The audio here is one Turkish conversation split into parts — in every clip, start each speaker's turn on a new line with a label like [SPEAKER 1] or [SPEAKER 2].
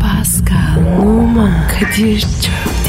[SPEAKER 1] Pascal, Oman, Kadir çok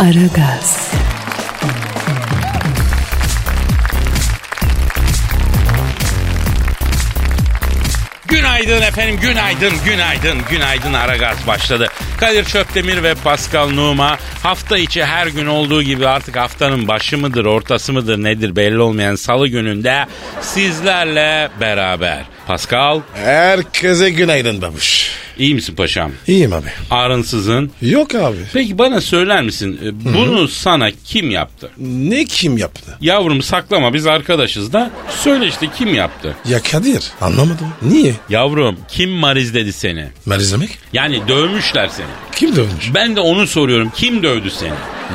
[SPEAKER 1] Aragaz,
[SPEAKER 2] Günaydın efendim, günaydın, günaydın, günaydın. Aragaz başladı. Kadir Çöptemir ve Pascal Numa hafta içi her gün olduğu gibi artık haftanın başı mıdır, ortası mıdır nedir belli olmayan salı gününde sizlerle beraber. Pascal,
[SPEAKER 3] Herkese günaydın babuş.
[SPEAKER 2] iyi misin paşam?
[SPEAKER 3] İyiyim abi.
[SPEAKER 2] Ağrınsızın.
[SPEAKER 3] Yok abi.
[SPEAKER 2] Peki bana söyler misin? e, Bunu sana kim yaptı?
[SPEAKER 3] Ne kim yaptı?
[SPEAKER 2] Yavrum saklama biz arkadaşız da söyle işte kim yaptı?
[SPEAKER 3] Ya Kadir anlamadım. Niye?
[SPEAKER 2] Yavrum kim mariz dedi seni?
[SPEAKER 3] Merizlemek?
[SPEAKER 2] Yani dövmüşler seni.
[SPEAKER 3] Kim dövmüş?
[SPEAKER 2] Ben de onu soruyorum. Kim dövdü seni?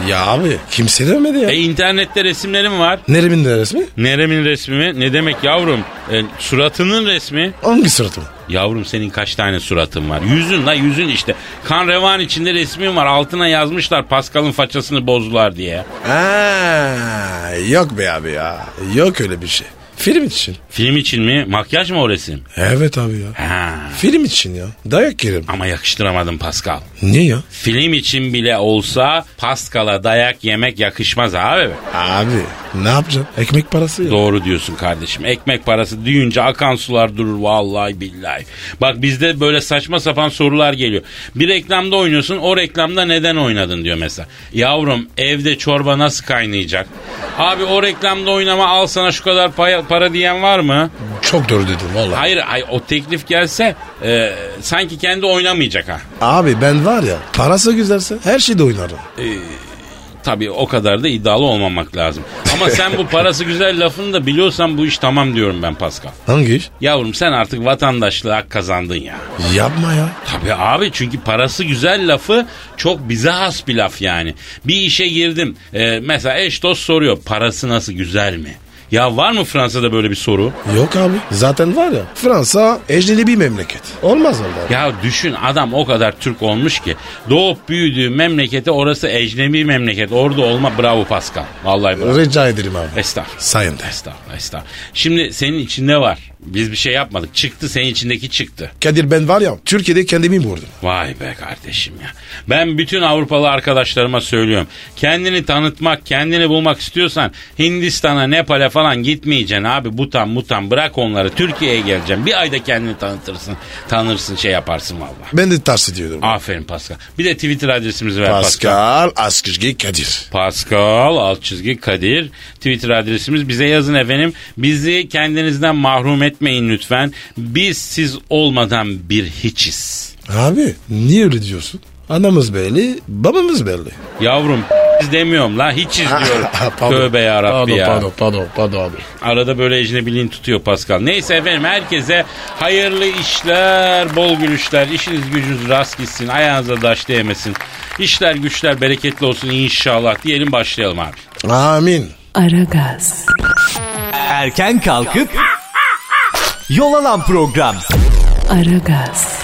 [SPEAKER 3] Ya abi kimse dövmedi ya.
[SPEAKER 2] E internette resimlerim var.
[SPEAKER 3] Neremin de resmi?
[SPEAKER 2] Neremin resmi mi? Ne demek yavrum? E, suratının resmi.
[SPEAKER 3] Hangi suratı mı?
[SPEAKER 2] Yavrum senin kaç tane suratın var? Yüzün la yüzün işte. Kan revan içinde resmin var. Altına yazmışlar Pascal'ın façasını bozdular diye.
[SPEAKER 3] Ha, yok be abi ya. Yok öyle bir şey. Film için.
[SPEAKER 2] Film için mi? Makyaj mı o resim?
[SPEAKER 3] Evet abi ya.
[SPEAKER 2] Ha.
[SPEAKER 3] Film için ya. Dayak yerim.
[SPEAKER 2] Ama yakıştıramadım Pascal.
[SPEAKER 3] Niye ya?
[SPEAKER 2] Film için bile olsa Pascal'a dayak yemek yakışmaz abi.
[SPEAKER 3] Abi ne yapacağım? Ekmek parası ya.
[SPEAKER 2] Doğru diyorsun kardeşim. Ekmek parası düğünce akan sular durur vallahi billahi. Bak bizde böyle saçma sapan sorular geliyor. Bir reklamda oynuyorsun o reklamda neden oynadın diyor mesela. Yavrum evde çorba nasıl kaynayacak? Abi o reklamda oynama al sana şu kadar paya- para diyen var mı?
[SPEAKER 3] Çok doğru dedim valla.
[SPEAKER 2] Hayır ay, o teklif gelse e, sanki kendi oynamayacak ha.
[SPEAKER 3] Abi ben var ya parası güzelse her şeyde oynarım.
[SPEAKER 2] Tabii o kadar da iddialı olmamak lazım. Ama sen bu parası güzel lafını da biliyorsan bu iş tamam diyorum ben Pascal.
[SPEAKER 3] Hangi iş?
[SPEAKER 2] Yavrum sen artık vatandaşlığı hak kazandın ya.
[SPEAKER 3] Yapma ya.
[SPEAKER 2] Tabii abi çünkü parası güzel lafı çok bize has bir laf yani. Bir işe girdim. Ee, mesela eş dost soruyor parası nasıl güzel mi? Ya var mı Fransa'da böyle bir soru?
[SPEAKER 3] Yok abi. Zaten var ya Fransa ecneli bir memleket. Olmaz orada.
[SPEAKER 2] Ya düşün adam o kadar Türk olmuş ki doğup büyüdüğü memlekete orası ecnebi memleket. Orada olma bravo Pascal. Vallahi bravo.
[SPEAKER 3] Rica ederim abi.
[SPEAKER 2] Estağfurullah.
[SPEAKER 3] Sayın da.
[SPEAKER 2] Estağfurullah, estağfurullah. Şimdi senin içinde var. Biz bir şey yapmadık. Çıktı senin içindeki çıktı.
[SPEAKER 3] Kadir ben var ya Türkiye'de kendimi vurdum.
[SPEAKER 2] Vay be kardeşim ya. Ben bütün Avrupalı arkadaşlarıma söylüyorum. Kendini tanıtmak, kendini bulmak istiyorsan Hindistan'a, Nepal'e falan gitmeyeceksin abi. Butan, mutan bırak onları. Türkiye'ye geleceğim. Bir ayda kendini tanıtırsın. Tanırsın, şey yaparsın valla.
[SPEAKER 3] Ben de ters ediyordum.
[SPEAKER 2] Aferin Pascal. Bir de Twitter adresimizi ver Pascal.
[SPEAKER 3] Pascal Askışgi Kadir.
[SPEAKER 2] Pascal alt çizgi Kadir Twitter adresimiz bize yazın efendim. Bizi kendinizden mahrum etmeyin lütfen. Biz siz olmadan bir hiçiz.
[SPEAKER 3] Abi niye öyle diyorsun? Anamız belli, babamız belli.
[SPEAKER 2] Yavrum biz demiyorum la hiç izliyorum. Tövbe yarabbi ya.
[SPEAKER 3] pardon, pardon abi.
[SPEAKER 2] Arada böyle ecnebiliğin tutuyor Pascal. Neyse efendim herkese hayırlı işler, bol gülüşler, işiniz gücünüz rast gitsin, ayağınıza daş değmesin. İşler güçler bereketli olsun inşallah diyelim başlayalım abi.
[SPEAKER 3] Amin.
[SPEAKER 1] Aragaz,
[SPEAKER 4] Erken kalkıp yol alan program.
[SPEAKER 1] Aragaz,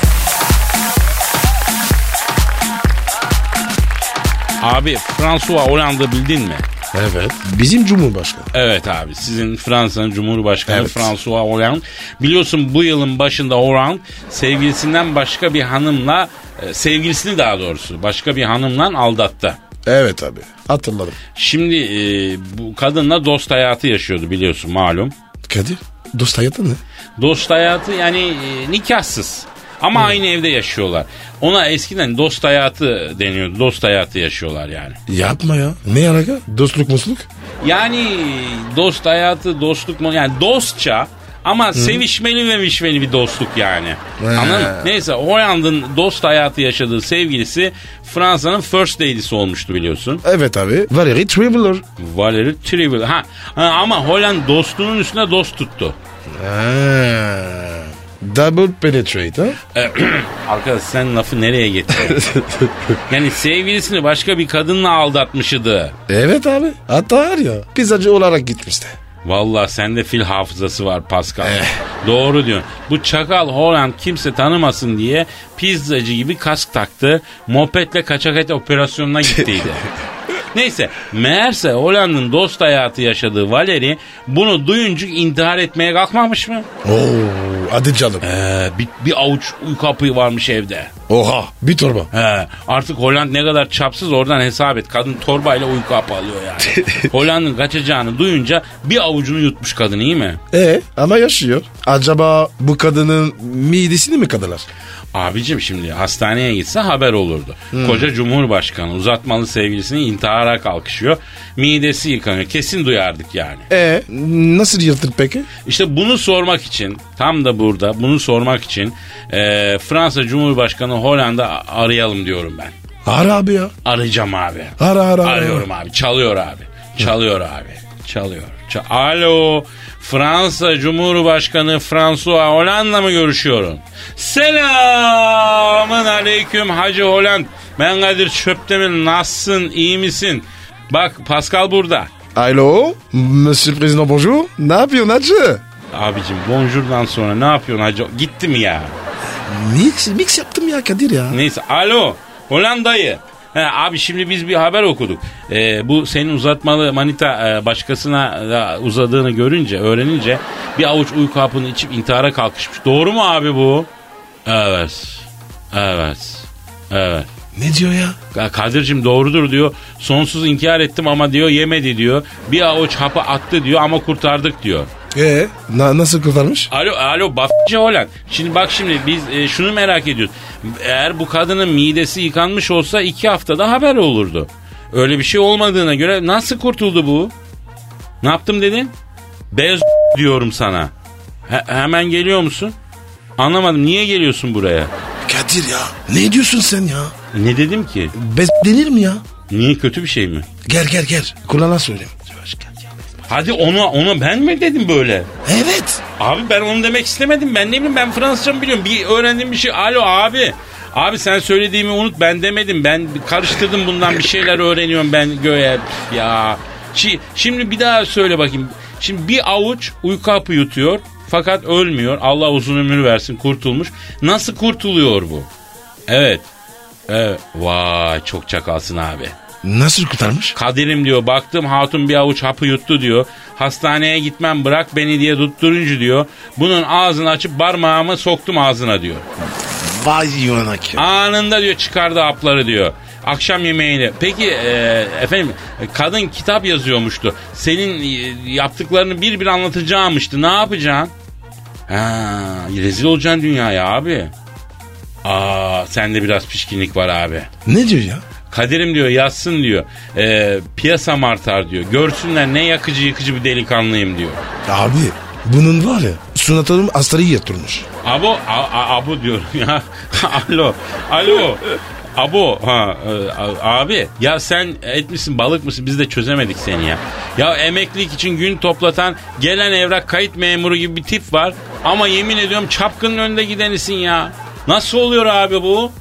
[SPEAKER 2] Abi François Hollande bildin mi?
[SPEAKER 3] Evet. Bizim Cumhurbaşkanı.
[SPEAKER 2] Evet abi sizin Fransa'nın Cumhurbaşkanı
[SPEAKER 3] Evet.
[SPEAKER 2] François Hollande. Biliyorsun bu yılın başında Hollande sevgilisinden başka bir hanımla e, sevgilisini daha doğrusu başka bir hanımla aldattı.
[SPEAKER 3] Evet abi. Hatırladım.
[SPEAKER 2] Şimdi e, bu kadınla dost hayatı yaşıyordu biliyorsun malum.
[SPEAKER 3] Kadir, dost hayatı ne?
[SPEAKER 2] Dost hayatı yani e, nikahsız. Ama aynı evde yaşıyorlar. Ona eskiden dost hayatı deniyordu. Dost hayatı yaşıyorlar yani.
[SPEAKER 3] Yapma ya. Ne alaka? Dostluk musluk?
[SPEAKER 2] Yani dost hayatı, dostluk mu? Yani dostça ama sevişmeli ve mişmeli bir dostluk yani. Anladın mı? Neyse Hollande'ın dost hayatı yaşadığı sevgilisi Fransa'nın first lady'si olmuştu biliyorsun.
[SPEAKER 3] Evet abi. Valerie Traveler.
[SPEAKER 2] Valérie Triville. Ha, ha, ama Hollanda dostluğunun üstüne dost tuttu.
[SPEAKER 3] Ha. Double penetrate ha?
[SPEAKER 2] Ee, Arkadaş sen lafı nereye getirdin? yani sevgilisini başka bir kadınla aldatmışydı.
[SPEAKER 3] Evet abi. Hatta var ya pizzacı olarak gitmişti.
[SPEAKER 2] Valla sende fil hafızası var Pascal. Doğru diyorsun. Bu çakal Holland kimse tanımasın diye pizzacı gibi kask taktı. Mopetle kaçak et operasyonuna gittiydi. Neyse meğerse Holland'ın dost hayatı yaşadığı Valeri bunu duyunca intihar etmeye kalkmamış mı?
[SPEAKER 3] Oo, hadi canım.
[SPEAKER 2] Ee, bir, bir avuç uyku hapı varmış evde.
[SPEAKER 3] Oha bir torba.
[SPEAKER 2] He, artık Holland ne kadar çapsız oradan hesap et. Kadın torbayla uyku hapı alıyor yani. Holland'ın kaçacağını duyunca bir avucunu yutmuş kadın iyi mi?
[SPEAKER 3] E ama yaşıyor. Acaba bu kadının midesini mi kadılar?
[SPEAKER 2] Abicim şimdi hastaneye gitse haber olurdu. Koca Cumhurbaşkanı uzatmalı sevgilisini intihara kalkışıyor. Midesi yıkanıyor. Kesin duyardık yani.
[SPEAKER 3] E nasıl yırtır peki?
[SPEAKER 2] İşte bunu sormak için tam da burada bunu sormak için e, Fransa Cumhurbaşkanı Hollanda a- arayalım diyorum ben.
[SPEAKER 3] Ara abi ya.
[SPEAKER 2] Arayacağım abi.
[SPEAKER 3] Ara ara. ara.
[SPEAKER 2] Arıyorum abi. Çalıyor abi. Çalıyor abi. Çalıyor. Ça- Alo. Fransa Cumhurbaşkanı François Hollande'la mı görüşüyorum? Selamın aleyküm Hacı Holland. Ben Kadir Çöptemir. Nasılsın? iyi misin? Bak Pascal burada.
[SPEAKER 3] Alo. Monsieur Président bonjour. Ne yapıyorsun hacı?
[SPEAKER 2] Abicim bonjour'dan sonra ne yapıyorsun hacı? Gitti mi ya?
[SPEAKER 3] Mix, mix yaptım ya Kadir ya.
[SPEAKER 2] Neyse alo Hollanda'yı. He, abi şimdi biz bir haber okuduk. Ee, bu senin uzatmalı manita e, başkasına da uzadığını görünce, öğrenince bir avuç uyku hapını içip intihara kalkışmış. Doğru mu abi bu? Evet. Evet. Evet.
[SPEAKER 3] Ne diyor ya?
[SPEAKER 2] Ka- Kadir'cim doğrudur diyor. Sonsuz inkar ettim ama diyor yemedi diyor. Bir avuç hapı attı diyor ama kurtardık diyor.
[SPEAKER 3] E na- nasıl kurtarmış?
[SPEAKER 2] Alo alo bafçı Holland. Şimdi bak şimdi biz e, şunu merak ediyoruz. Eğer bu kadının midesi yıkanmış olsa iki haftada haber olurdu. Öyle bir şey olmadığına göre nasıl kurtuldu bu? Ne yaptım dedin? Bez diyorum sana. He- hemen geliyor musun? Anlamadım niye geliyorsun buraya?
[SPEAKER 3] Kadir ya. Ne diyorsun sen ya?
[SPEAKER 2] Ne dedim ki?
[SPEAKER 3] Bez denir mi ya?
[SPEAKER 2] Niye kötü bir şey mi?
[SPEAKER 3] Gel gel gel. Kulağına söyleyeyim.
[SPEAKER 2] Hadi ona ona ben mi dedim böyle?
[SPEAKER 3] Evet.
[SPEAKER 2] Abi ben onu demek istemedim. Ben ne bileyim ben Fransızca mı biliyorum? Bir öğrendiğim bir şey. Alo abi. Abi sen söylediğimi unut ben demedim. Ben karıştırdım bundan bir şeyler öğreniyorum ben göğe. Ya. Şi- Şimdi bir daha söyle bakayım. Şimdi bir avuç uyku hapı yutuyor. Fakat ölmüyor. Allah uzun ömür versin kurtulmuş. Nasıl kurtuluyor bu? Evet. Evet. Vay çok çakalsın abi.
[SPEAKER 3] Nasıl kurtarmış?
[SPEAKER 2] Kadir'im diyor baktım hatun bir avuç hapı yuttu diyor. Hastaneye gitmem bırak beni diye tutturuncu diyor. Bunun ağzını açıp parmağımı soktum ağzına diyor.
[SPEAKER 3] Vay yuvanak ya.
[SPEAKER 2] Anında diyor çıkardı hapları diyor. Akşam yemeğini. Peki e, efendim kadın kitap yazıyormuştu. Senin e, yaptıklarını bir bir anlatacağımıştı. Ne yapacaksın? Ha, rezil olacaksın dünyaya abi. Aa sende biraz pişkinlik var abi.
[SPEAKER 3] Ne diyor ya?
[SPEAKER 2] Kaderim diyor yazsın diyor. Ee, piyasam artar diyor. Görsünler ne yakıcı yıkıcı bir delikanlıyım diyor.
[SPEAKER 3] Abi bunun var ya sunatörüm astarı yatırmış.
[SPEAKER 2] Abo, a- a- abu diyorum ya. Alo, alo. Abo, ha, e, a- abi ya sen et misin balık mısın biz de çözemedik seni ya. Ya emeklilik için gün toplatan gelen evrak kayıt memuru gibi bir tip var. Ama yemin ediyorum çapkının önünde gidenisin ya. Nasıl oluyor abi bu?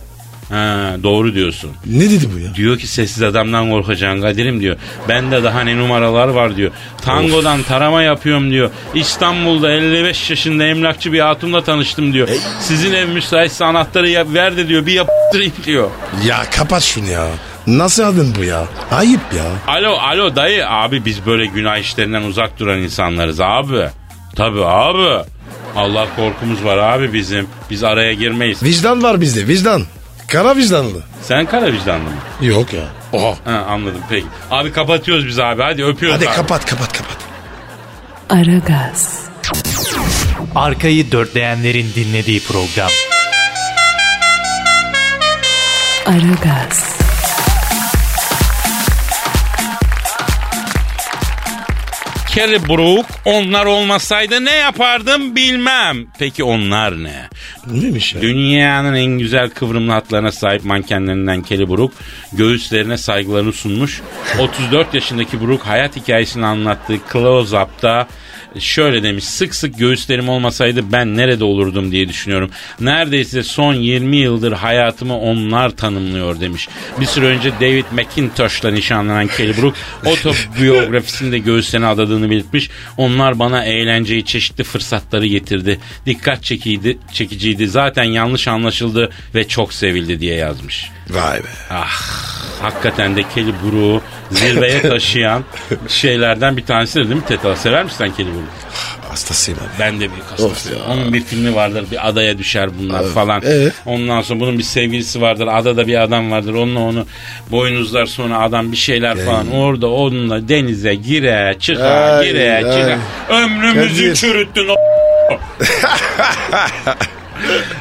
[SPEAKER 2] Ha, doğru diyorsun.
[SPEAKER 3] Ne dedi bu ya?
[SPEAKER 2] Diyor ki sessiz adamdan korkacaksın Kadir'im diyor. Bende daha ne numaralar var diyor. Tangodan tarama yapıyorum diyor. İstanbul'da 55 yaşında emlakçı bir hatunla tanıştım diyor. Sizin ev müsaitse anahtarı yap, ver de diyor bir yaptırayım diyor.
[SPEAKER 3] Ya kapat şunu ya. Nasıl adın bu ya? Ayıp ya.
[SPEAKER 2] Alo alo dayı abi biz böyle günah işlerinden uzak duran insanlarız abi. Tabi abi. Allah korkumuz var abi bizim. Biz araya girmeyiz.
[SPEAKER 3] Vicdan var bizde vicdan. Kara vicdanlı.
[SPEAKER 2] Sen kara vicdanlı mı?
[SPEAKER 3] Yok ya. Oha.
[SPEAKER 2] Ha, anladım peki. Abi kapatıyoruz biz abi hadi öpüyoruz
[SPEAKER 3] Hadi
[SPEAKER 2] abi.
[SPEAKER 3] kapat kapat kapat.
[SPEAKER 1] Aragaz,
[SPEAKER 4] Arkayı dörtleyenlerin dinlediği program.
[SPEAKER 1] Aragaz,
[SPEAKER 2] Kelly Brook onlar olmasaydı ne yapardım bilmem. Peki onlar ne?
[SPEAKER 3] Neymiş ya?
[SPEAKER 2] Dünyanın en güzel kıvrımlı hatlarına sahip mankenlerinden Kelly Brook göğüslerine saygılarını sunmuş. 34 yaşındaki Brook hayat hikayesini anlattığı Close Up'ta şöyle demiş. Sık sık göğüslerim olmasaydı ben nerede olurdum diye düşünüyorum. Neredeyse son 20 yıldır hayatımı onlar tanımlıyor demiş. Bir süre önce David McIntosh'la nişanlanan Kelly Brook otobiyografisinde göğüslerine adadığını belirtmiş. Onlar bana eğlenceyi çeşitli fırsatları getirdi. Dikkat çekiydi, çekiciydi. Zaten yanlış anlaşıldı ve çok sevildi diye yazmış.
[SPEAKER 3] Vay be.
[SPEAKER 2] Hakikaten de Kelly Brook'u zirveye taşıyan şeylerden bir tanesi de değil mi Teta? Sever misin sen Kelly Brook'u?
[SPEAKER 3] Hastasıyım abi.
[SPEAKER 2] Ben de bir
[SPEAKER 3] Of
[SPEAKER 2] kasası.
[SPEAKER 3] ya.
[SPEAKER 2] Onun bir filmi vardır. Bir adaya düşer bunlar falan.
[SPEAKER 3] Ee?
[SPEAKER 2] Ondan sonra bunun bir sevgilisi vardır. Adada bir adam vardır. Onunla onu boynuzlar sonra adam bir şeyler falan. Orada onunla denize gire çıka
[SPEAKER 3] Ay,
[SPEAKER 2] gire
[SPEAKER 3] ay.
[SPEAKER 2] çıka. Ömrümüzü
[SPEAKER 3] Kadir.
[SPEAKER 2] çürüttün o.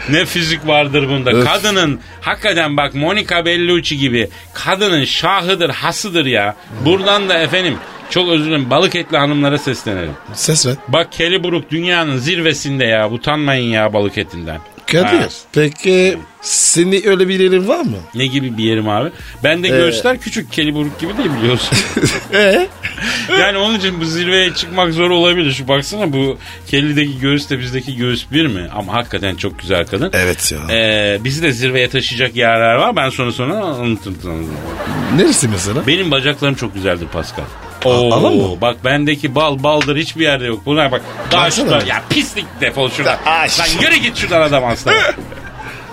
[SPEAKER 2] ne fizik vardır bunda. Kadının hakikaten bak Monica Bellucci gibi kadının şahıdır, hasıdır ya. Buradan da efendim çok özür dilerim balık etli hanımlara seslenelim.
[SPEAKER 3] Ses ver.
[SPEAKER 2] Bak Kellyburuk dünyanın zirvesinde ya. Utanmayın ya balık etinden.
[SPEAKER 3] Kadir.
[SPEAKER 2] Ha.
[SPEAKER 3] Peki senin öyle bir yerin var mı?
[SPEAKER 2] Ne gibi bir yerim abi? Ben de göğüsler küçük Kellyburuk gibi değil biliyorsun.
[SPEAKER 3] Ee?
[SPEAKER 2] yani onun için bu zirveye çıkmak zor olabilir. Şu baksana bu Kelly'deki göğüs de bizdeki göğüs bir mi? Ama hakikaten çok güzel kadın.
[SPEAKER 3] Evet ya.
[SPEAKER 2] Ee, bizi de zirveye taşıyacak yerler var. Ben sonra sonra anlatırım sana.
[SPEAKER 3] Neresi mesela?
[SPEAKER 2] Benim bacaklarım çok güzeldir Pascal.
[SPEAKER 3] alan mı?
[SPEAKER 2] Bak bendeki bal baldır hiçbir yerde yok. Buna bak. Daha
[SPEAKER 3] Baksana.
[SPEAKER 2] şurada. Ya pislik defol şuradan.
[SPEAKER 3] Ay.
[SPEAKER 2] Sen yürü git şuradan adam aslan.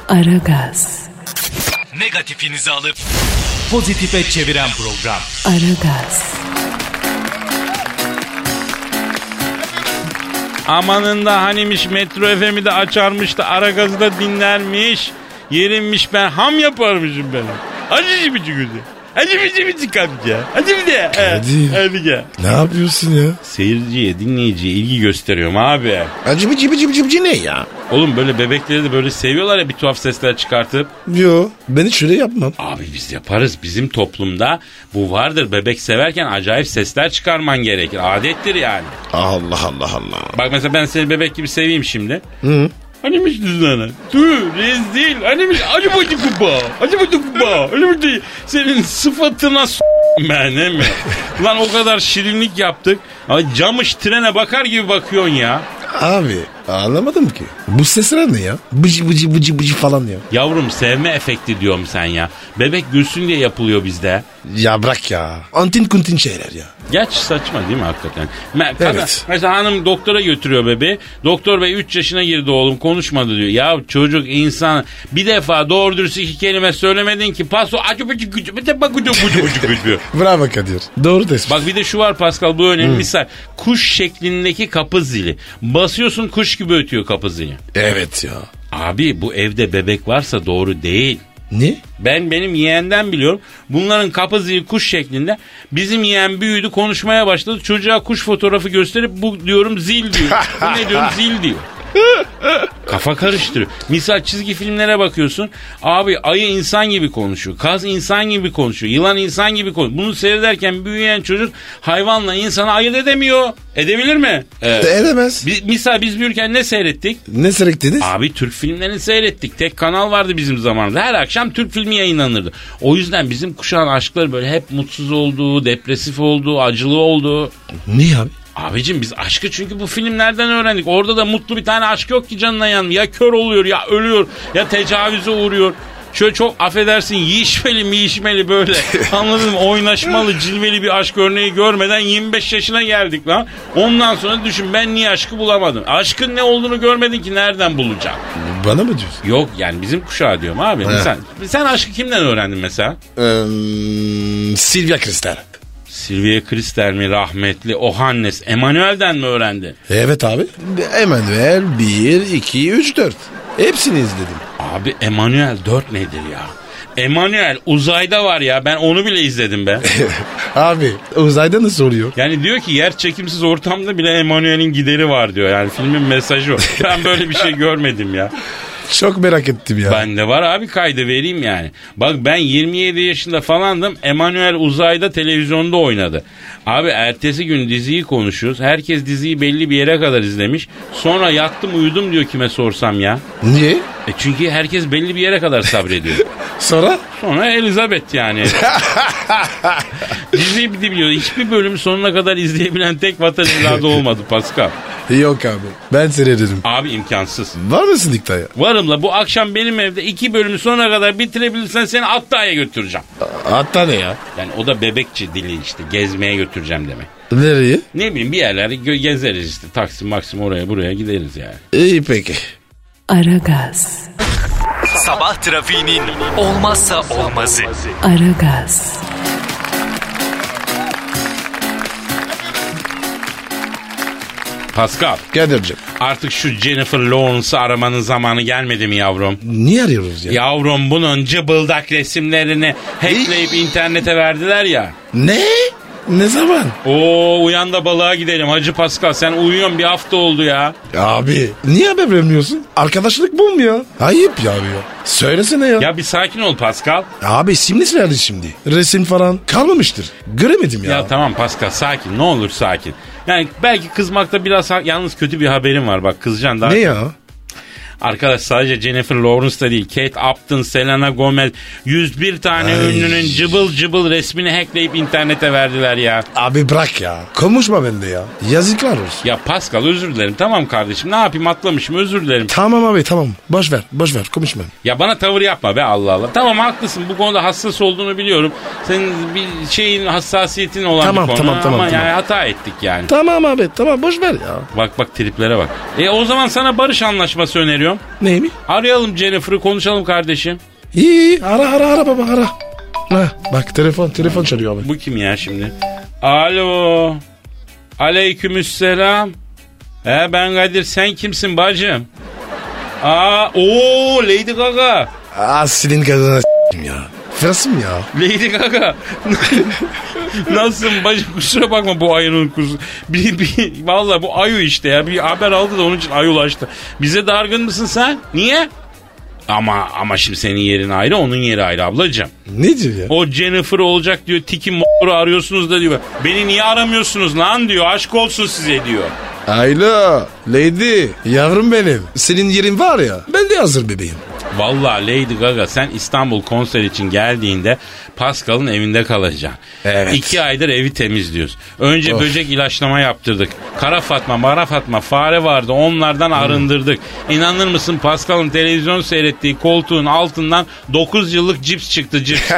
[SPEAKER 1] Aragaz,
[SPEAKER 4] Negatifinizi alıp pozitife çeviren program.
[SPEAKER 1] Aragaz,
[SPEAKER 2] Amanında hanimiş Metro FM'i de açarmış da ara gazı da dinlermiş. Yerinmiş ben ham yaparmışım ben. Acıcı bici gözü. Acı bici bici kapça. Acı bir de.
[SPEAKER 3] Kadir.
[SPEAKER 2] Hadi gel.
[SPEAKER 3] Ne yapıyorsun ya?
[SPEAKER 2] Seyirciye, dinleyiciye ilgi gösteriyorum abi.
[SPEAKER 3] Acı bici bici bici bici ne ya?
[SPEAKER 2] Oğlum böyle bebekleri de böyle seviyorlar ya bir tuhaf sesler çıkartıp.
[SPEAKER 3] Yo ben hiç öyle yapmam.
[SPEAKER 2] Abi biz yaparız. Bizim toplumda bu vardır. Bebek severken acayip sesler çıkarman gerekir. Adettir yani.
[SPEAKER 3] Allah Allah Allah.
[SPEAKER 2] Bak mesela ben seni bebek gibi seveyim şimdi. Hani Animiş düzlana. Dur rezil. Animiş acı bacı kuba. Acı bacı kuba. Öyle bir şey. Senin sıfatına s- ben değil mi? Lan o kadar şirinlik yaptık. Ay camış trene bakar gibi bakıyorsun ya.
[SPEAKER 3] Abi anlamadım ki. Bu sesler ne ya? Bıcı bıcı bıcı bıcı falan ya.
[SPEAKER 2] Yavrum sevme efekti diyorum sen ya. Bebek gülsün diye yapılıyor bizde.
[SPEAKER 3] Ya bırak ya. Antin kuntin şeyler ya.
[SPEAKER 2] Gerçi saçma değil mi hakikaten? Me- kadın-
[SPEAKER 3] Evet.
[SPEAKER 2] Mesela hanım doktora götürüyor bebeği. Doktor bey 3 yaşına girdi oğlum konuşmadı diyor. Ya çocuk insan bir defa doğru dürüst iki kelime söylemedin ki. Paso acı bıcı gücü bir de bak gücü gücü gücü gücü.
[SPEAKER 3] Bravo Kadir. Doğru tespit.
[SPEAKER 2] Bak bir de şu var Pascal bu önemli misal. Kuş şeklindeki kapı zili. Basıyorsun kuş gibi ötüyor kapı zili.
[SPEAKER 3] Evet ya.
[SPEAKER 2] Abi bu evde bebek varsa doğru değil.
[SPEAKER 3] Ne?
[SPEAKER 2] Ben benim yeğenden biliyorum. Bunların kapı zili kuş şeklinde. Bizim yeğen büyüdü konuşmaya başladı. Çocuğa kuş fotoğrafı gösterip bu diyorum zil diyor. Bu ne diyorum zil diyor. Kafa karıştırıyor. Misal çizgi filmlere bakıyorsun. Abi ayı insan gibi konuşuyor. Kaz insan gibi konuşuyor. Yılan insan gibi konuşuyor. Bunu seyrederken büyüyen çocuk hayvanla insanı ayırt edemiyor. Edebilir mi? Evet.
[SPEAKER 3] Edemez.
[SPEAKER 2] Bi- misal biz büyürken ne seyrettik?
[SPEAKER 3] Ne seyrettiniz?
[SPEAKER 2] Abi Türk filmlerini seyrettik. Tek kanal vardı bizim zamanımızda. Her akşam Türk filmi yayınlanırdı. O yüzden bizim kuşağın aşkları böyle hep mutsuz olduğu, depresif olduğu, acılı olduğu.
[SPEAKER 3] Ne abi?
[SPEAKER 2] Abicim biz aşkı çünkü bu filmlerden öğrendik. Orada da mutlu bir tane aşk yok ki canına yan. Ya kör oluyor ya ölüyor ya tecavüze uğruyor. Şöyle çok affedersin yiyişmeli miyişmeli böyle anladın mı oynaşmalı cilveli bir aşk örneği görmeden 25 yaşına geldik lan. Ondan sonra düşün ben niye aşkı bulamadım. Aşkın ne olduğunu görmedin ki nereden bulacaksın?
[SPEAKER 3] Bana mı diyorsun?
[SPEAKER 2] Yok yani bizim kuşağı diyorum abi. Sen, sen aşkı kimden öğrendin mesela?
[SPEAKER 3] Ee, Silvia Kristal.
[SPEAKER 2] Silvia Kristel mi rahmetli, Ohannes, Emanuel'den mi öğrendin?
[SPEAKER 3] Evet abi. Emanuel 1, 2, 3, 4. Hepsini izledim.
[SPEAKER 2] Abi Emanuel 4 nedir ya? Emanuel uzayda var ya ben onu bile izledim be.
[SPEAKER 3] abi uzayda nasıl oluyor?
[SPEAKER 2] Yani diyor ki yer çekimsiz ortamda bile Emanuel'in gideri var diyor. Yani filmin mesajı o. Ben böyle bir şey görmedim ya.
[SPEAKER 3] Çok merak ettim ya.
[SPEAKER 2] Bende var abi kaydı vereyim yani. Bak ben 27 yaşında falandım. Emanuel Uzay'da televizyonda oynadı. Abi ertesi gün diziyi konuşuyoruz. Herkes diziyi belli bir yere kadar izlemiş. Sonra yattım uyudum diyor kime sorsam ya.
[SPEAKER 3] Niye?
[SPEAKER 2] E çünkü herkes belli bir yere kadar sabrediyor.
[SPEAKER 3] Sonra?
[SPEAKER 2] Sonra Elizabeth yani. diziyi bir de biliyor. Hiçbir bölüm sonuna kadar izleyebilen tek vatan evladı olmadı Pascal.
[SPEAKER 3] Yok abi. Ben seni dedim.
[SPEAKER 2] Abi imkansız.
[SPEAKER 3] Var mısın diktaya?
[SPEAKER 2] Varımla bu akşam benim evde iki bölümü sonuna kadar bitirebilirsen seni Atta'ya götüreceğim.
[SPEAKER 3] Hatta ne ya?
[SPEAKER 2] Yani o da bebekçi dili işte gezmeye götüreceğim demek.
[SPEAKER 3] Nereye?
[SPEAKER 2] Ne bileyim bir yerleri gö- gezeriz işte Taksim Maksim oraya buraya gideriz yani.
[SPEAKER 3] İyi peki.
[SPEAKER 1] Aragaz,
[SPEAKER 4] Sabah trafiğinin olmazsa olmazı.
[SPEAKER 1] Aragaz,
[SPEAKER 2] Pascal
[SPEAKER 3] Kadir'cim.
[SPEAKER 2] artık şu Jennifer Lawrence'ı aramanın zamanı gelmedi mi yavrum?
[SPEAKER 3] Niye arıyoruz ya?
[SPEAKER 2] Yavrum bunun cıbıldak resimlerini hackleyip internete verdiler ya.
[SPEAKER 3] Ne? Ne zaman?
[SPEAKER 2] Oo uyan da balığa gidelim Hacı Pascal sen uyuyorsun bir hafta oldu ya.
[SPEAKER 3] Abi. Niye haber vermiyorsun? Arkadaşlık bu mu ya? Ayıp ya abi ya. Söylesene ya.
[SPEAKER 2] Ya bir sakin ol Pascal.
[SPEAKER 3] Abi simlis nerede şimdi? Resim falan kalmamıştır. Göremedim ya.
[SPEAKER 2] Ya, tamam Pascal sakin ne olur sakin. Yani belki kızmakta biraz ha- yalnız kötü bir haberim var bak kızacaksın daha.
[SPEAKER 3] ne ya?
[SPEAKER 2] Arkadaş sadece Jennifer Lawrence da değil. Kate Upton, Selena Gomez 101 tane
[SPEAKER 3] Ay.
[SPEAKER 2] ünlünün cıbıl cıbıl resmini hackleyip internete verdiler ya.
[SPEAKER 3] Abi bırak ya. Konuşma bende ya. Yazıklar olsun.
[SPEAKER 2] Ya Pascal özür dilerim tamam kardeşim ne yapayım atlamışım özür dilerim.
[SPEAKER 3] Tamam abi tamam. Boş ver. Boş ver. Konuşma.
[SPEAKER 2] Ya bana tavır yapma be Allah Allah. Tamam haklısın bu konuda hassas olduğunu biliyorum. Senin bir şeyin hassasiyetin olan
[SPEAKER 3] Tamam,
[SPEAKER 2] bir konu
[SPEAKER 3] tamam, tamam,
[SPEAKER 2] ama
[SPEAKER 3] tamam.
[SPEAKER 2] yani hata ettik yani.
[SPEAKER 3] Tamam abi tamam boş ver ya.
[SPEAKER 2] Bak bak triplere bak. E o zaman sana barış anlaşması öneriyorum.
[SPEAKER 3] Neymiş?
[SPEAKER 2] Arayalım Jennifer'ı konuşalım kardeşim.
[SPEAKER 3] İyi iyi. Ara ara ara baba ara. Ha, bak telefon telefon çalıyor abi.
[SPEAKER 2] Bu kim ya şimdi? Alo. Aleykümselam. He ben Kadir sen kimsin bacım? Aa o Lady Gaga.
[SPEAKER 3] Aa senin kadına s**tim ya. Fırasım ya.
[SPEAKER 2] Lady Gaga. Nasılsın bacım kusura bakma bu ayının kuzu. Bir, bir, vallahi bu ayu işte ya bir haber aldı da onun için ayulaştı. Bize dargın mısın sen? Niye? Ama ama şimdi senin yerin ayrı onun yeri ayrı ablacığım.
[SPEAKER 3] Ne diyor ya?
[SPEAKER 2] O Jennifer olacak diyor. Tiki m***ru arıyorsunuz da diyor. Beni niye aramıyorsunuz lan diyor. Aşk olsun size diyor.
[SPEAKER 3] Ayla. Lady. Yavrum benim. Senin yerin var ya. Ben de hazır bebeğim.
[SPEAKER 2] Vallahi Lady Gaga sen İstanbul konser için geldiğinde Pascal'ın evinde kalacaksın.
[SPEAKER 3] Evet.
[SPEAKER 2] İki aydır evi temizliyoruz. Önce
[SPEAKER 3] Of.
[SPEAKER 2] böcek ilaçlama yaptırdık. Kara Fatma, Mara Fatma fare vardı
[SPEAKER 3] Hmm.
[SPEAKER 2] onlardan arındırdık. İnanır mısın Pascal'ın televizyon seyrettiği koltuğun altından 9 yıllık cips çıktı cips.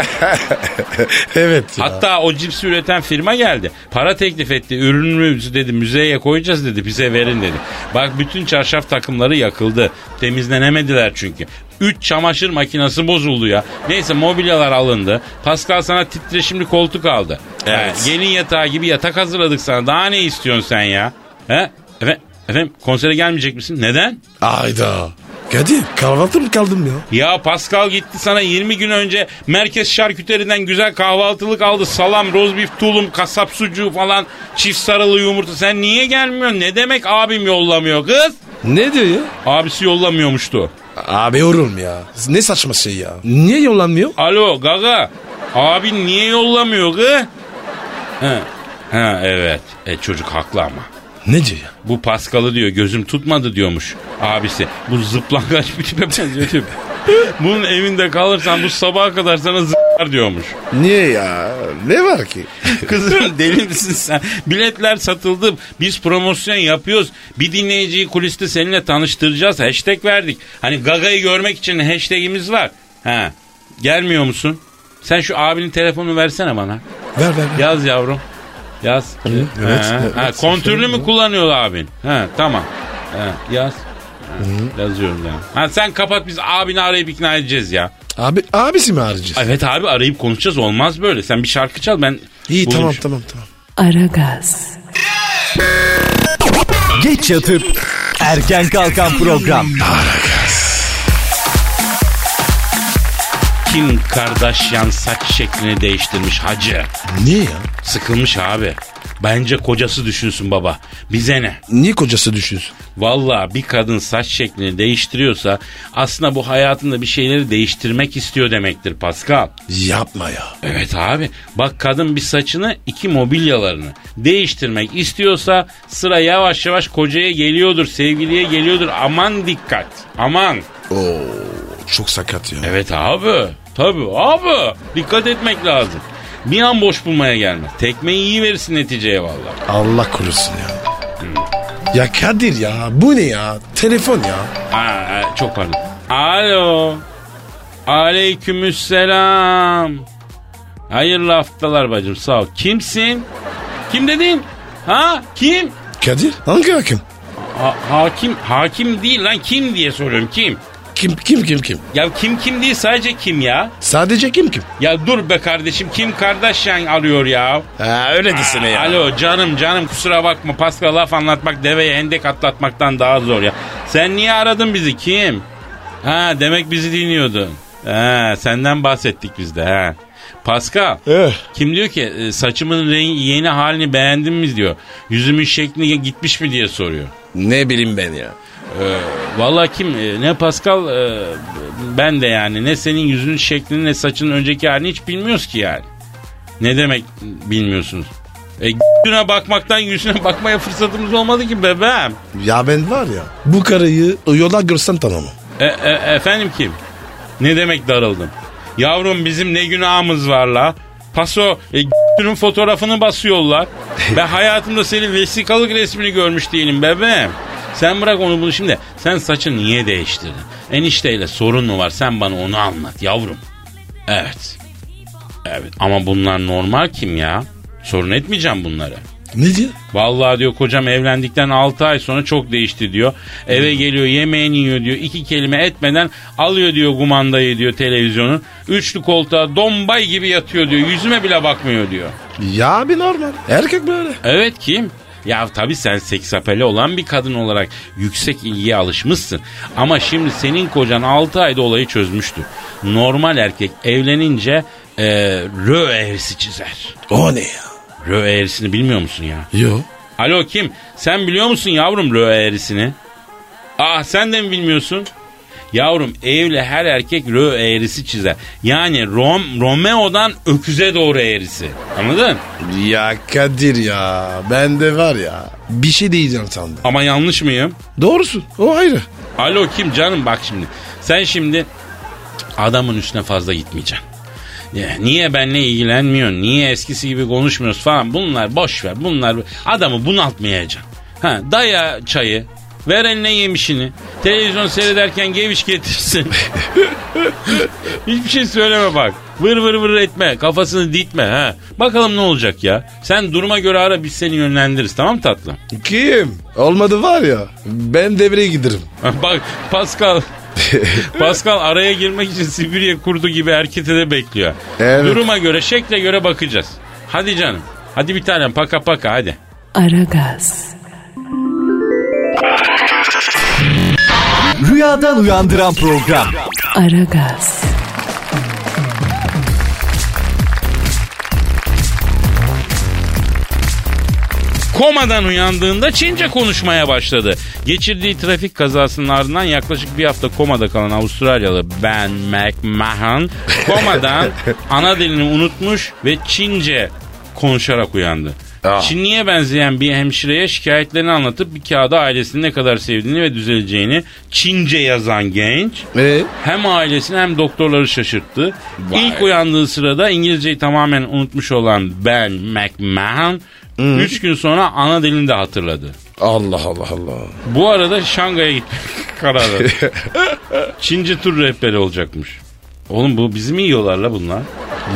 [SPEAKER 3] evet ya.
[SPEAKER 2] Hatta o cipsi üreten firma geldi. Para teklif etti. Ürünümüzü dedi müzeye koyacağız dedi. Bize verin dedi. Bak bütün çarşaf takımları yakıldı. Temizlenemediler çünkü. 3 çamaşır makinesi bozuldu ya. Neyse mobilyalar alındı. Pascal sana titreşimli koltuk aldı.
[SPEAKER 3] Evet.
[SPEAKER 2] Ee, gelin yatağı gibi yatak hazırladık sana. Daha ne istiyorsun sen ya? He? Efendim, efendim konsere gelmeyecek misin? Neden?
[SPEAKER 3] Ayda. Kadir kahvaltı mı kaldım ya?
[SPEAKER 2] Ya Pascal gitti sana 20 gün önce merkez şarküteriden güzel kahvaltılık aldı. Salam, rozbif, tulum, kasap sucuğu falan, çift sarılı yumurta. Sen niye gelmiyorsun? Ne demek abim yollamıyor kız?
[SPEAKER 3] Ne diyor ya?
[SPEAKER 2] Abisi yollamıyormuştu.
[SPEAKER 3] Abi yorum ya. Ne saçma şey ya. Niye yollanmıyor?
[SPEAKER 2] Alo gaga, abin niye yollamıyor kız? Ha, ha evet. E, çocuk haklı ama.
[SPEAKER 3] Ne diyor ya?
[SPEAKER 2] Bu Paskal'ı diyor gözüm tutmadı diyormuş abisi. Bu zıplangaç bir tipe benziyor diyor. Bunun evinde kalırsan bu sabaha kadar sana zıplar diyormuş.
[SPEAKER 3] Niye ya? Ne var ki?
[SPEAKER 2] Kızım deli misin sen? Biletler satıldı. Biz promosyon yapıyoruz. Bir dinleyiciyi kuliste seninle tanıştıracağız. Hashtag verdik. Hani Gaga'yı görmek için hashtagimiz var. Ha. Gelmiyor musun? Sen şu abinin telefonunu versene bana.
[SPEAKER 3] Ver ver ver.
[SPEAKER 2] Yaz yavrum. Yaz.
[SPEAKER 3] evet,
[SPEAKER 2] Ha,
[SPEAKER 3] evet.
[SPEAKER 2] ha, kontürlü mü kullanıyor abin? Ha, tamam. Ha, yaz. Ha, yazıyorum ya. Ha, sen kapat biz abini arayıp ikna edeceğiz ya.
[SPEAKER 3] Abi abisi mi arayacağız?
[SPEAKER 2] Evet abi arayıp konuşacağız olmaz böyle. Sen bir şarkı çal ben
[SPEAKER 3] İyi
[SPEAKER 2] bulayım
[SPEAKER 3] tamam
[SPEAKER 2] şu-
[SPEAKER 3] tamam tamam.
[SPEAKER 1] Aragaz,
[SPEAKER 4] Geç yatıp erken kalkan program.
[SPEAKER 2] Kim Kardashian saç şeklini değiştirmiş hacı.
[SPEAKER 3] Niye ya?
[SPEAKER 2] Sıkılmış abi. Bence kocası düşünsün baba. Bize ne?
[SPEAKER 3] Niye kocası düşünsün?
[SPEAKER 2] Valla bir kadın saç şeklini değiştiriyorsa aslında bu hayatında bir şeyleri değiştirmek istiyor demektir Pascal.
[SPEAKER 3] Yapma ya.
[SPEAKER 2] Evet abi bak kadın bir saçını iki mobilyalarını değiştirmek istiyorsa sıra yavaş yavaş kocaya geliyordur sevgiliye geliyordur aman dikkat aman.
[SPEAKER 3] Oo, çok sakat ya.
[SPEAKER 2] Evet abi tabi abi dikkat etmek lazım. Bir an boş bulmaya gelmez. Tekmeyi iyi verirsin neticeye valla.
[SPEAKER 3] Allah korusun ya. Ya Kadir ya bu ne ya? Telefon ya.
[SPEAKER 2] Aa, çok pardon. Alo. Aleykümselam. Hayırlı haftalar bacım sağ ol. Kimsin? Kim dedin? Ha kim?
[SPEAKER 3] Kadir hangi hakim?
[SPEAKER 2] Ha- hakim hakim değil lan kim diye soruyorum kim?
[SPEAKER 3] Kim kim kim kim?
[SPEAKER 2] Ya kim kim değil sadece kim ya?
[SPEAKER 3] Sadece kim kim?
[SPEAKER 2] Ya dur be kardeşim kim Kardashian arıyor ya?
[SPEAKER 3] Ha öyle desene ya.
[SPEAKER 2] Alo canım canım kusura bakma Pascal laf anlatmak deveye hendek atlatmaktan daha zor ya. Sen niye aradın bizi kim? Ha demek bizi dinliyordun. Ha senden bahsettik biz de ha. Pascal
[SPEAKER 3] Eh.
[SPEAKER 2] kim diyor ki e, saçımın rengi yeni halini beğendin mi diyor. Yüzümün şekli gitmiş mi diye soruyor.
[SPEAKER 3] Ne bileyim ben ya.
[SPEAKER 2] Valla kim e, ne Pascal e, ben de yani ne senin yüzünün şeklini ne saçının önceki halini hiç bilmiyoruz ki yani. Ne demek bilmiyorsunuz? E yüzüne bakmaktan yüzüne bakmaya fırsatımız olmadı ki bebeğim.
[SPEAKER 3] Ya ben var ya bu karıyı yolda görsem tanımam.
[SPEAKER 2] E, e, efendim kim? Ne demek darıldım? Yavrum bizim ne günahımız var la? Paso e, g***nün fotoğrafını basıyorlar. Ben hayatımda senin vesikalık resmini görmüş değilim bebeğim. Sen bırak onu bunu şimdi. Sen saçı niye değiştirdin? Enişteyle sorun mu var? Sen bana onu anlat yavrum. Evet. Evet ama bunlar normal kim ya? Sorun etmeyeceğim bunları.
[SPEAKER 3] Ne diyor?
[SPEAKER 2] Vallahi diyor kocam evlendikten 6 ay sonra çok değişti diyor. Eve geliyor yemeğini yiyor diyor. iki kelime etmeden alıyor diyor kumandayı diyor televizyonu. Üçlü koltuğa dombay gibi yatıyor diyor. Yüzüme bile bakmıyor diyor.
[SPEAKER 3] Ya abi normal. Erkek böyle.
[SPEAKER 2] Evet kim? Ya tabii sen seksapeli olan bir kadın olarak yüksek ilgiye alışmışsın. Ama şimdi senin kocan 6 ayda olayı çözmüştür. Normal erkek evlenince eee rö eğrisi çizer.
[SPEAKER 3] O ne ya?
[SPEAKER 2] Rö eğrisini bilmiyor musun ya?
[SPEAKER 3] Yo.
[SPEAKER 2] Alo kim? Sen biliyor musun yavrum röve eğrisini? Ah sen de mi bilmiyorsun? Yavrum evli her erkek röve eğrisi çizer. Yani Rom, Romeo'dan öküze doğru eğrisi. Anladın?
[SPEAKER 3] Ya Kadir ya ben de var ya bir şey diyeceğim sandım.
[SPEAKER 2] Ama yanlış mıyım?
[SPEAKER 3] Doğrusun o ayrı.
[SPEAKER 2] Alo kim canım bak şimdi. Sen şimdi adamın üstüne fazla gitmeyeceksin. Ya, Niye benle ilgilenmiyorsun? Niye eskisi gibi konuşmuyoruz falan? Bunlar boş ver. Bunlar adamı bunaltmayacaksın. Ha, daya çayı. Ver eline yemişini. Televizyon seyrederken geviş getirsin. Hiçbir şey söyleme bak. Vır vır vır etme. Kafasını ditme. Ha. Bakalım ne olacak ya. Sen duruma göre ara biz seni yönlendiririz. Tamam mı tatlım?
[SPEAKER 3] Kim? Olmadı var ya ben devreye giderim.
[SPEAKER 2] Bak Pascal Pascal araya girmek için Sibirya kurdu gibi erkete de bekliyor.
[SPEAKER 3] Evet.
[SPEAKER 2] Duruma göre, şekle göre bakacağız. Hadi canım. Hadi bir tanem paka paka hadi.
[SPEAKER 1] Aragaz,
[SPEAKER 4] Rüyadan uyandıran program.
[SPEAKER 1] Aragaz,
[SPEAKER 2] Komadan uyandığında Çince konuşmaya başladı. Geçirdiği trafik kazasının ardından yaklaşık bir hafta komada kalan Avustralyalı Ben McMahon komadan ana dilini unutmuş ve Çince konuşarak uyandı.
[SPEAKER 3] Ah.
[SPEAKER 2] Çinliye benzeyen bir hemşireye şikayetlerini anlatıp bir kağıda ailesini ne kadar sevdiğini ve düzeleceğini Çince yazan genç
[SPEAKER 3] E?
[SPEAKER 2] hem ailesini hem doktorları şaşırttı.
[SPEAKER 3] Vay.
[SPEAKER 2] İlk uyandığı sırada İngilizceyi tamamen unutmuş olan Ben McMahon 3 gün sonra ana dilini de hatırladı.
[SPEAKER 3] Allah Allah Allah.
[SPEAKER 2] Bu arada Şangay'a gitmek kararı. aldı. Çince tur rehberi olacakmış. Oğlum bu bizi mi yiyorlar la bunlar?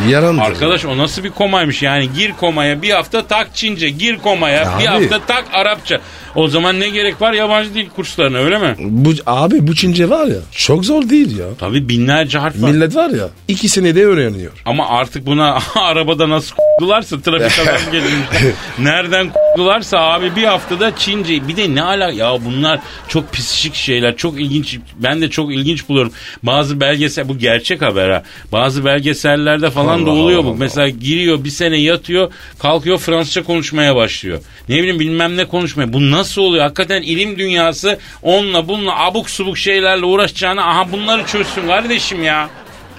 [SPEAKER 3] Yaran
[SPEAKER 2] Arkadaş o nasıl bir komaymış yani gir komaya bir hafta tak Çince, gir komaya
[SPEAKER 3] Ya
[SPEAKER 2] bir
[SPEAKER 3] abi.
[SPEAKER 2] hafta tak Arapça. O zaman ne gerek var yabancı dil kurslarına öyle mi?
[SPEAKER 3] Bu, abi bu Çince var ya çok zor değil ya.
[SPEAKER 2] Tabii binlerce harf var.
[SPEAKER 3] Millet var ya iki senede öğreniyor.
[SPEAKER 2] Ama artık buna arabada nasıl k***dılarsa trafik adam gelince nereden k***dılarsa abi bir haftada Çince bir de ne ala ya bunlar çok pisişik şeyler çok ilginç ben de çok ilginç buluyorum. Bazı belgesel bu gerçek haber ha bazı belgesellerde falan da oluyor bu. Mesela giriyor bir sene yatıyor kalkıyor Fransızca konuşmaya başlıyor. Ne bileyim bilmem ne konuşmaya bu nasıl oluyor hakikaten ilim dünyası onunla bununla abuk subuk şeylerle uğraşacağına aha bunları çözsün kardeşim ya.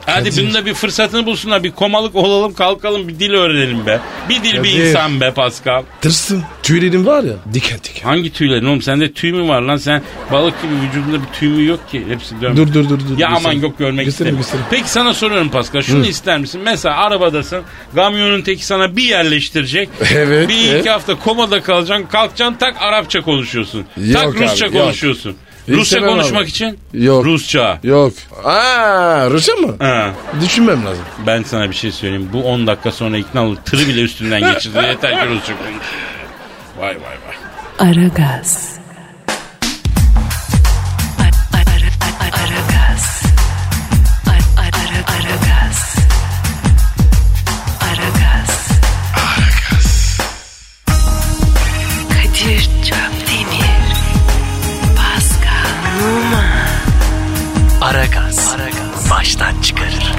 [SPEAKER 2] Hadi bunun da bir fırsatını bulsunlar. Bir komalık olalım kalkalım bir dil öğrenelim be. Bir dil bir
[SPEAKER 3] Kadir.
[SPEAKER 2] insan be Pascal.
[SPEAKER 3] Tırstım. Tüylerim var ya diken diken.
[SPEAKER 2] Hangi tüylerin oğlum sende tüy mü var lan sen balık gibi vücudunda bir tüy mü yok ki hepsi dönmüş.
[SPEAKER 3] Dur dur dur. dur
[SPEAKER 2] Ya aman
[SPEAKER 3] göstereyim.
[SPEAKER 2] yok görmek
[SPEAKER 3] Göstereyim,
[SPEAKER 2] istemiyorum. Peki sana soruyorum Pascal şunu ister misin? Mesela arabadasın kamyonun teki sana bir yerleştirecek.
[SPEAKER 3] Evet,
[SPEAKER 2] Bir iki
[SPEAKER 3] evet.
[SPEAKER 2] hafta komada kalacaksın kalkacaksın tak Arapça konuşuyorsun.
[SPEAKER 3] Yok
[SPEAKER 2] tak
[SPEAKER 3] abi,
[SPEAKER 2] Rusça
[SPEAKER 3] yok.
[SPEAKER 2] konuşuyorsun.
[SPEAKER 3] İstemem
[SPEAKER 2] Rusça
[SPEAKER 3] abi.
[SPEAKER 2] konuşmak için?
[SPEAKER 3] Yok.
[SPEAKER 2] Rusça.
[SPEAKER 3] göstereyim. Yok. Aa, Rusça mı?
[SPEAKER 2] Ha.
[SPEAKER 3] Düşünmem lazım.
[SPEAKER 2] Ben sana bir şey söyleyeyim. Bu 10 dakika sonra ikna olur. Tırı bile üstünden geçirdi. Yeter ki Rusça konuş. Vay vay vay.
[SPEAKER 1] Aragaz. Aragaz. Aragaz. Aragaz. Kadir Çöpdemir. Pascal Numa. Aragaz. Baştan çıkarır.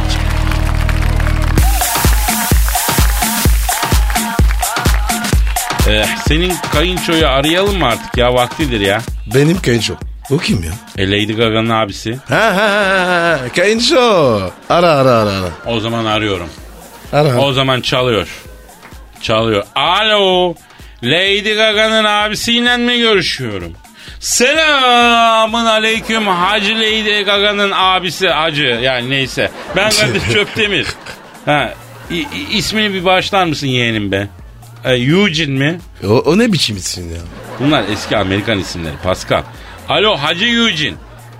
[SPEAKER 2] Ee, senin kayınçoyu arayalım mı artık ya? Vaktidir ya.
[SPEAKER 3] Benim Kenço. O kim ya?
[SPEAKER 2] E Lady Gaga'nın abisi.
[SPEAKER 3] Ha ha ha ha. Kenço. Ara ara ara. Ara.
[SPEAKER 2] O zaman arıyorum.
[SPEAKER 3] ara.
[SPEAKER 2] O zaman çalıyor. Çalıyor. Alo. Lady Gaga'nın abisiyle mi görüşüyorum? Selamın aleyküm Hacı Lady Gaga'nın abisi Hacı yani neyse. Ben Kadir Çöptemir. Ha, i- i- ismini bir bağışlar mısın yeğenim be? E, Eugene mi?
[SPEAKER 3] O, o ne biçim isim ya?
[SPEAKER 2] Bunlar eski Amerikan isimleri Pascal. Alo Hacı Eugene.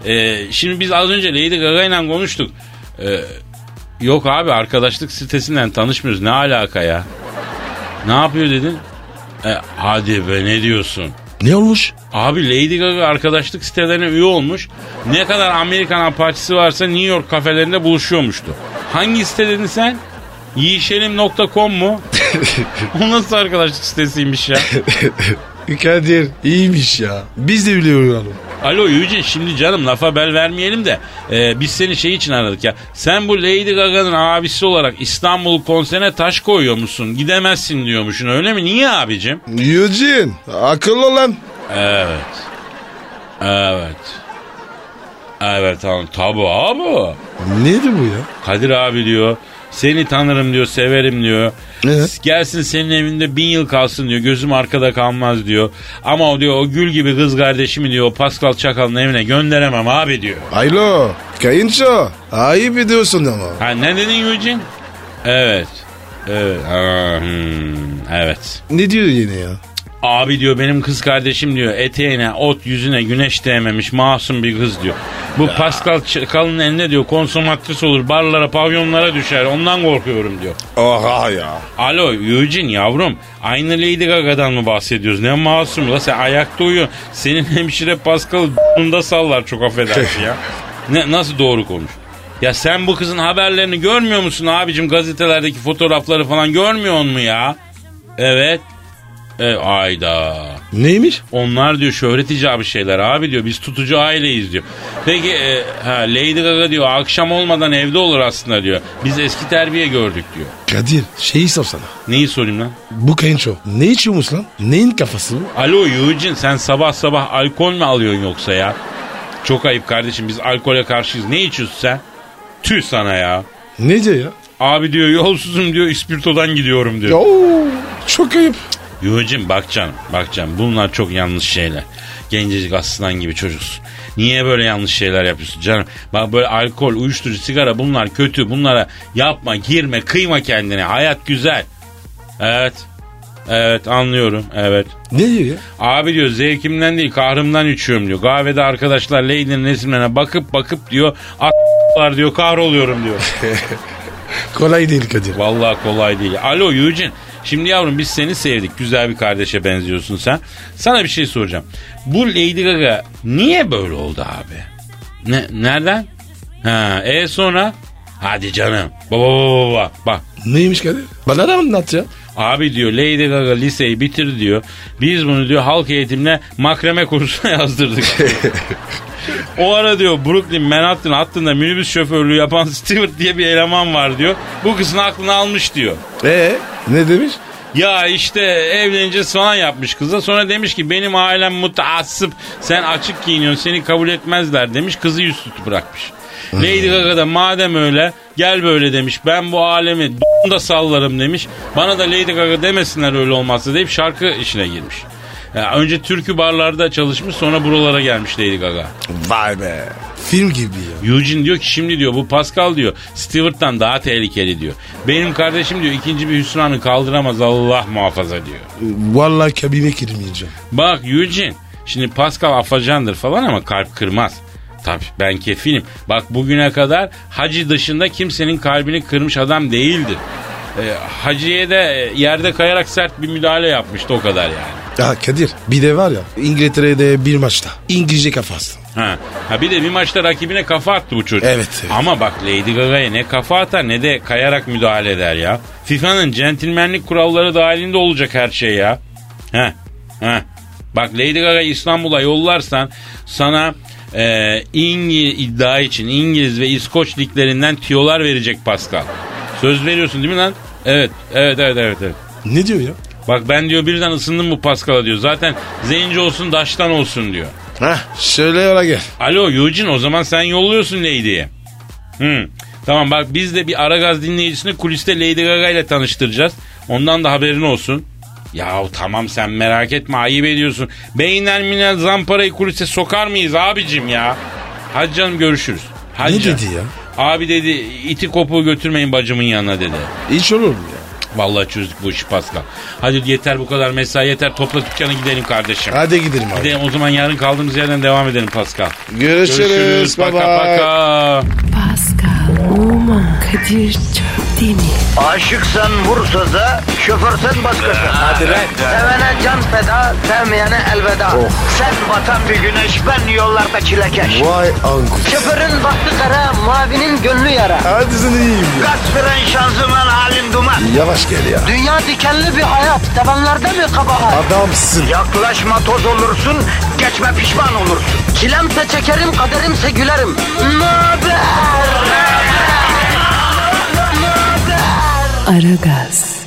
[SPEAKER 2] Ee, şimdi biz az önce Lady Gaga ile konuştuk. Ee, yok abi arkadaşlık sitesinden tanışmıyoruz. Ne alaka ya? Ne yapıyor dedin? E, hadi be ne diyorsun?
[SPEAKER 3] Ne olmuş?
[SPEAKER 2] Abi Lady Gaga arkadaşlık sitelerine üye olmuş. Ne kadar Amerikan apaçısı varsa New York kafelerinde buluşuyormuştu. Hangi site dedin sen? Yiyişelim.com mu? o nasıl arkadaşlık sitesiymiş ya?
[SPEAKER 3] Kadir iyiymiş ya. Biz de biliyoruz.
[SPEAKER 2] Alo Yüce şimdi canım lafa bel vermeyelim de e, biz seni şey için aradık ya. Sen bu Lady Gaga'nın abisi olarak İstanbul konserine taş koyuyor musun? Gidemezsin diyormuşsun öyle mi? Niye abicim?
[SPEAKER 3] Eugene akıllı olan.
[SPEAKER 2] Evet. Evet. Evet hanım tabu abi.
[SPEAKER 3] Neydi bu ya?
[SPEAKER 2] Kadir abi diyor. Seni tanırım diyor, severim diyor.
[SPEAKER 3] Evet.
[SPEAKER 2] Gelsin senin evinde bin yıl kalsın diyor. Gözüm arkada kalmaz diyor. Ama o diyor o gül gibi kız kardeşimi diyor o Pascal Çakal'ın evine gönderemem abi diyor.
[SPEAKER 3] Alo. Kayınço. Ayıp ediyorsun ama.
[SPEAKER 2] Ha ne dedin Yücin? Evet. Evet. Aa, hmm, evet.
[SPEAKER 3] Ne diyor yine ya?
[SPEAKER 2] Abi diyor benim kız kardeşim diyor eteğine, ot yüzüne güneş değmemiş masum bir kız diyor. Bu Pascal Çakal'ın eline diyor konsomatris olur barlara pavyonlara düşer ondan korkuyorum diyor.
[SPEAKER 3] Oha ya.
[SPEAKER 2] Alo Yücin yavrum aynı Lady Gaga'dan mı bahsediyoruz? Ne masum la sen ayakta uyuyorsun. Senin hemşire Pascal'ı d***unda sallar çok affedersin ya. Ne, nasıl doğru konuş? Ya sen bu kızın haberlerini görmüyor musun abicim gazetelerdeki fotoğrafları falan görmüyor mu ya? Evet. E, ayda.
[SPEAKER 3] Neymiş?
[SPEAKER 2] Onlar diyor şöhret icabı şeyler abi diyor. Biz tutucu aileyiz diyor. Peki e, ha, Lady Gaga diyor akşam olmadan evde olur aslında diyor. Biz eski terbiye gördük diyor.
[SPEAKER 3] Kadir şeyi sor sana.
[SPEAKER 2] Neyi sorayım lan?
[SPEAKER 3] Bu kayınço ne içiyormuş lan? Neyin kafası bu?
[SPEAKER 2] Alo Yuğcin sen sabah sabah alkol mü alıyorsun yoksa ya? Çok ayıp kardeşim biz alkole karşıyız. Ne içiyorsun sen? Tüh sana ya.
[SPEAKER 3] Ne diyor ya?
[SPEAKER 2] Abi diyor yolsuzum diyor ispirtodan gidiyorum diyor.
[SPEAKER 3] Oo, çok ayıp.
[SPEAKER 2] Yuğcin bak canım bak canım bunlar çok yanlış şeyler. Gencecik aslan gibi çocuksun. Niye böyle yanlış şeyler yapıyorsun canım? Bak böyle alkol, uyuşturucu, sigara bunlar kötü. Bunlara yapma, girme, kıyma kendine. Hayat güzel. Evet. Evet anlıyorum. Evet.
[SPEAKER 3] Ne diyor ya?
[SPEAKER 2] Abi diyor zevkimden değil kahrımdan içiyorum diyor. Kahvede arkadaşlar Lady'nin resimlerine bakıp bakıp diyor a**lar diyor kahroluyorum diyor.
[SPEAKER 3] Kolay değil Kadir.
[SPEAKER 2] Vallahi kolay değil. Alo Yücin Şimdi yavrum biz seni sevdik. Güzel bir kardeşe benziyorsun sen. Sana bir şey soracağım. Bu Lady Gaga niye böyle oldu abi? Ne, nereden? Ha, e sonra? Hadi canım. Baba baba baba. Bak
[SPEAKER 3] Neymiş Kadir? Bana da anlat ya.
[SPEAKER 2] Abi diyor Lady Gaga liseyi bitir diyor. Biz bunu diyor halk eğitimle makreme kursuna yazdırdık. o ara diyor Brooklyn Manhattan hattında minibüs şoförlüğü yapan Stewart diye bir eleman var diyor. Bu kızın aklını almış diyor.
[SPEAKER 3] Ee ne demiş?
[SPEAKER 2] Ya işte evleneceğiz falan yapmış kıza. Sonra demiş ki benim ailem mutaassıp sen açık giyiniyorsun seni kabul etmezler demiş. Kızı yüz tutup bırakmış. Lady Gaga da madem öyle gel böyle demiş. Ben bu alemi da sallarım demiş. Bana da Lady Gaga demesinler öyle olmazsa deyip şarkı işine girmiş. Ya önce türkü barlarda çalışmış sonra buralara gelmiş Lady Gaga.
[SPEAKER 3] Vay be. Film gibi ya.
[SPEAKER 2] Eugene diyor ki şimdi diyor bu Pascal diyor Stewart'tan daha tehlikeli diyor. Benim kardeşim diyor ikinci bir hüsranı kaldıramaz Allah muhafaza diyor.
[SPEAKER 3] Vallahi kabine girmeyeceğim.
[SPEAKER 2] Bak Eugene şimdi Pascal afacandır falan ama kalp kırmaz. Tabii ben kefilim. Bak bugüne kadar hacı dışında kimsenin kalbini kırmış adam değildir. Ee, hacı'ye de e, yerde kayarak sert bir müdahale yapmıştı o kadar yani.
[SPEAKER 3] Ya Kadir bir de var ya İngiltere'de bir maçta İngilizce kafası.
[SPEAKER 2] Ha. ha bir de bir maçta rakibine kafa attı bu çocuk.
[SPEAKER 3] Evet, evet.
[SPEAKER 2] Ama bak Lady Gaga'ya ne kafa atar ne de kayarak müdahale eder ya. FIFA'nın centilmenlik kuralları dahilinde olacak her şey ya. Heh, heh. Bak Lady Gaga'yı İstanbul'a yollarsan sana e, İngiliz iddia için İngiliz ve İskoç liglerinden tiyolar verecek Pascal. Söz veriyorsun değil mi lan? Evet, evet, evet, evet. evet.
[SPEAKER 3] Ne diyor ya?
[SPEAKER 2] Bak ben diyor birden ısındım bu Pascal'a diyor. Zaten zenci olsun daştan olsun diyor.
[SPEAKER 3] Heh şöyle yola gel.
[SPEAKER 2] Alo Yocin o zaman sen yolluyorsun Lady'ye. Hı. Tamam bak biz de bir Aragaz dinleyicisini kuliste Lady Gaga ile tanıştıracağız. Ondan da haberin olsun. Yahu tamam sen merak etme ayıp ediyorsun. Beyinler minel zamparayı kulise sokar mıyız abicim ya? Hadi canım görüşürüz. Hadi
[SPEAKER 3] Ne
[SPEAKER 2] canım.
[SPEAKER 3] dedi ya?
[SPEAKER 2] Abi dedi iti kopuğu götürmeyin bacımın yanına dedi.
[SPEAKER 3] Hiç olur mu ya?
[SPEAKER 2] Vallahi çözdük bu işi Pascal. Hadi yeter bu kadar mesai yeter topla dükkanı gidelim kardeşim.
[SPEAKER 3] Hadi gidelim abi.
[SPEAKER 2] Gidelim o zaman yarın kaldığımız yerden devam edelim Pascal.
[SPEAKER 3] Görüşürüz. bye
[SPEAKER 2] Paka
[SPEAKER 3] bye.
[SPEAKER 2] paka.
[SPEAKER 1] Pascal, Oman, Kadir çok değil mi?
[SPEAKER 5] Aşıksan vursa da şoförsen
[SPEAKER 3] Ee,
[SPEAKER 5] başkasın. Hadi Sevene can feda, sevmeyene elveda.
[SPEAKER 3] Oh.
[SPEAKER 5] Sen batan bir güneş, ben yollarda çilekeş.
[SPEAKER 3] Vay anku.
[SPEAKER 5] Şoförün baktı kara, mavinin gönlü yara.
[SPEAKER 3] Hadi sen iyiyim ya.
[SPEAKER 5] Kasperen şanzıman halin duman.
[SPEAKER 3] Yavaş gel ya.
[SPEAKER 5] Dünya dikenli bir hayat, sevenlerde mi kabahar?
[SPEAKER 3] Adamsın.
[SPEAKER 5] Yaklaşma toz olursun, geçme pişman olursun. Çilemse çekerim, kaderimse gülerim. Möber!
[SPEAKER 1] Aragaz.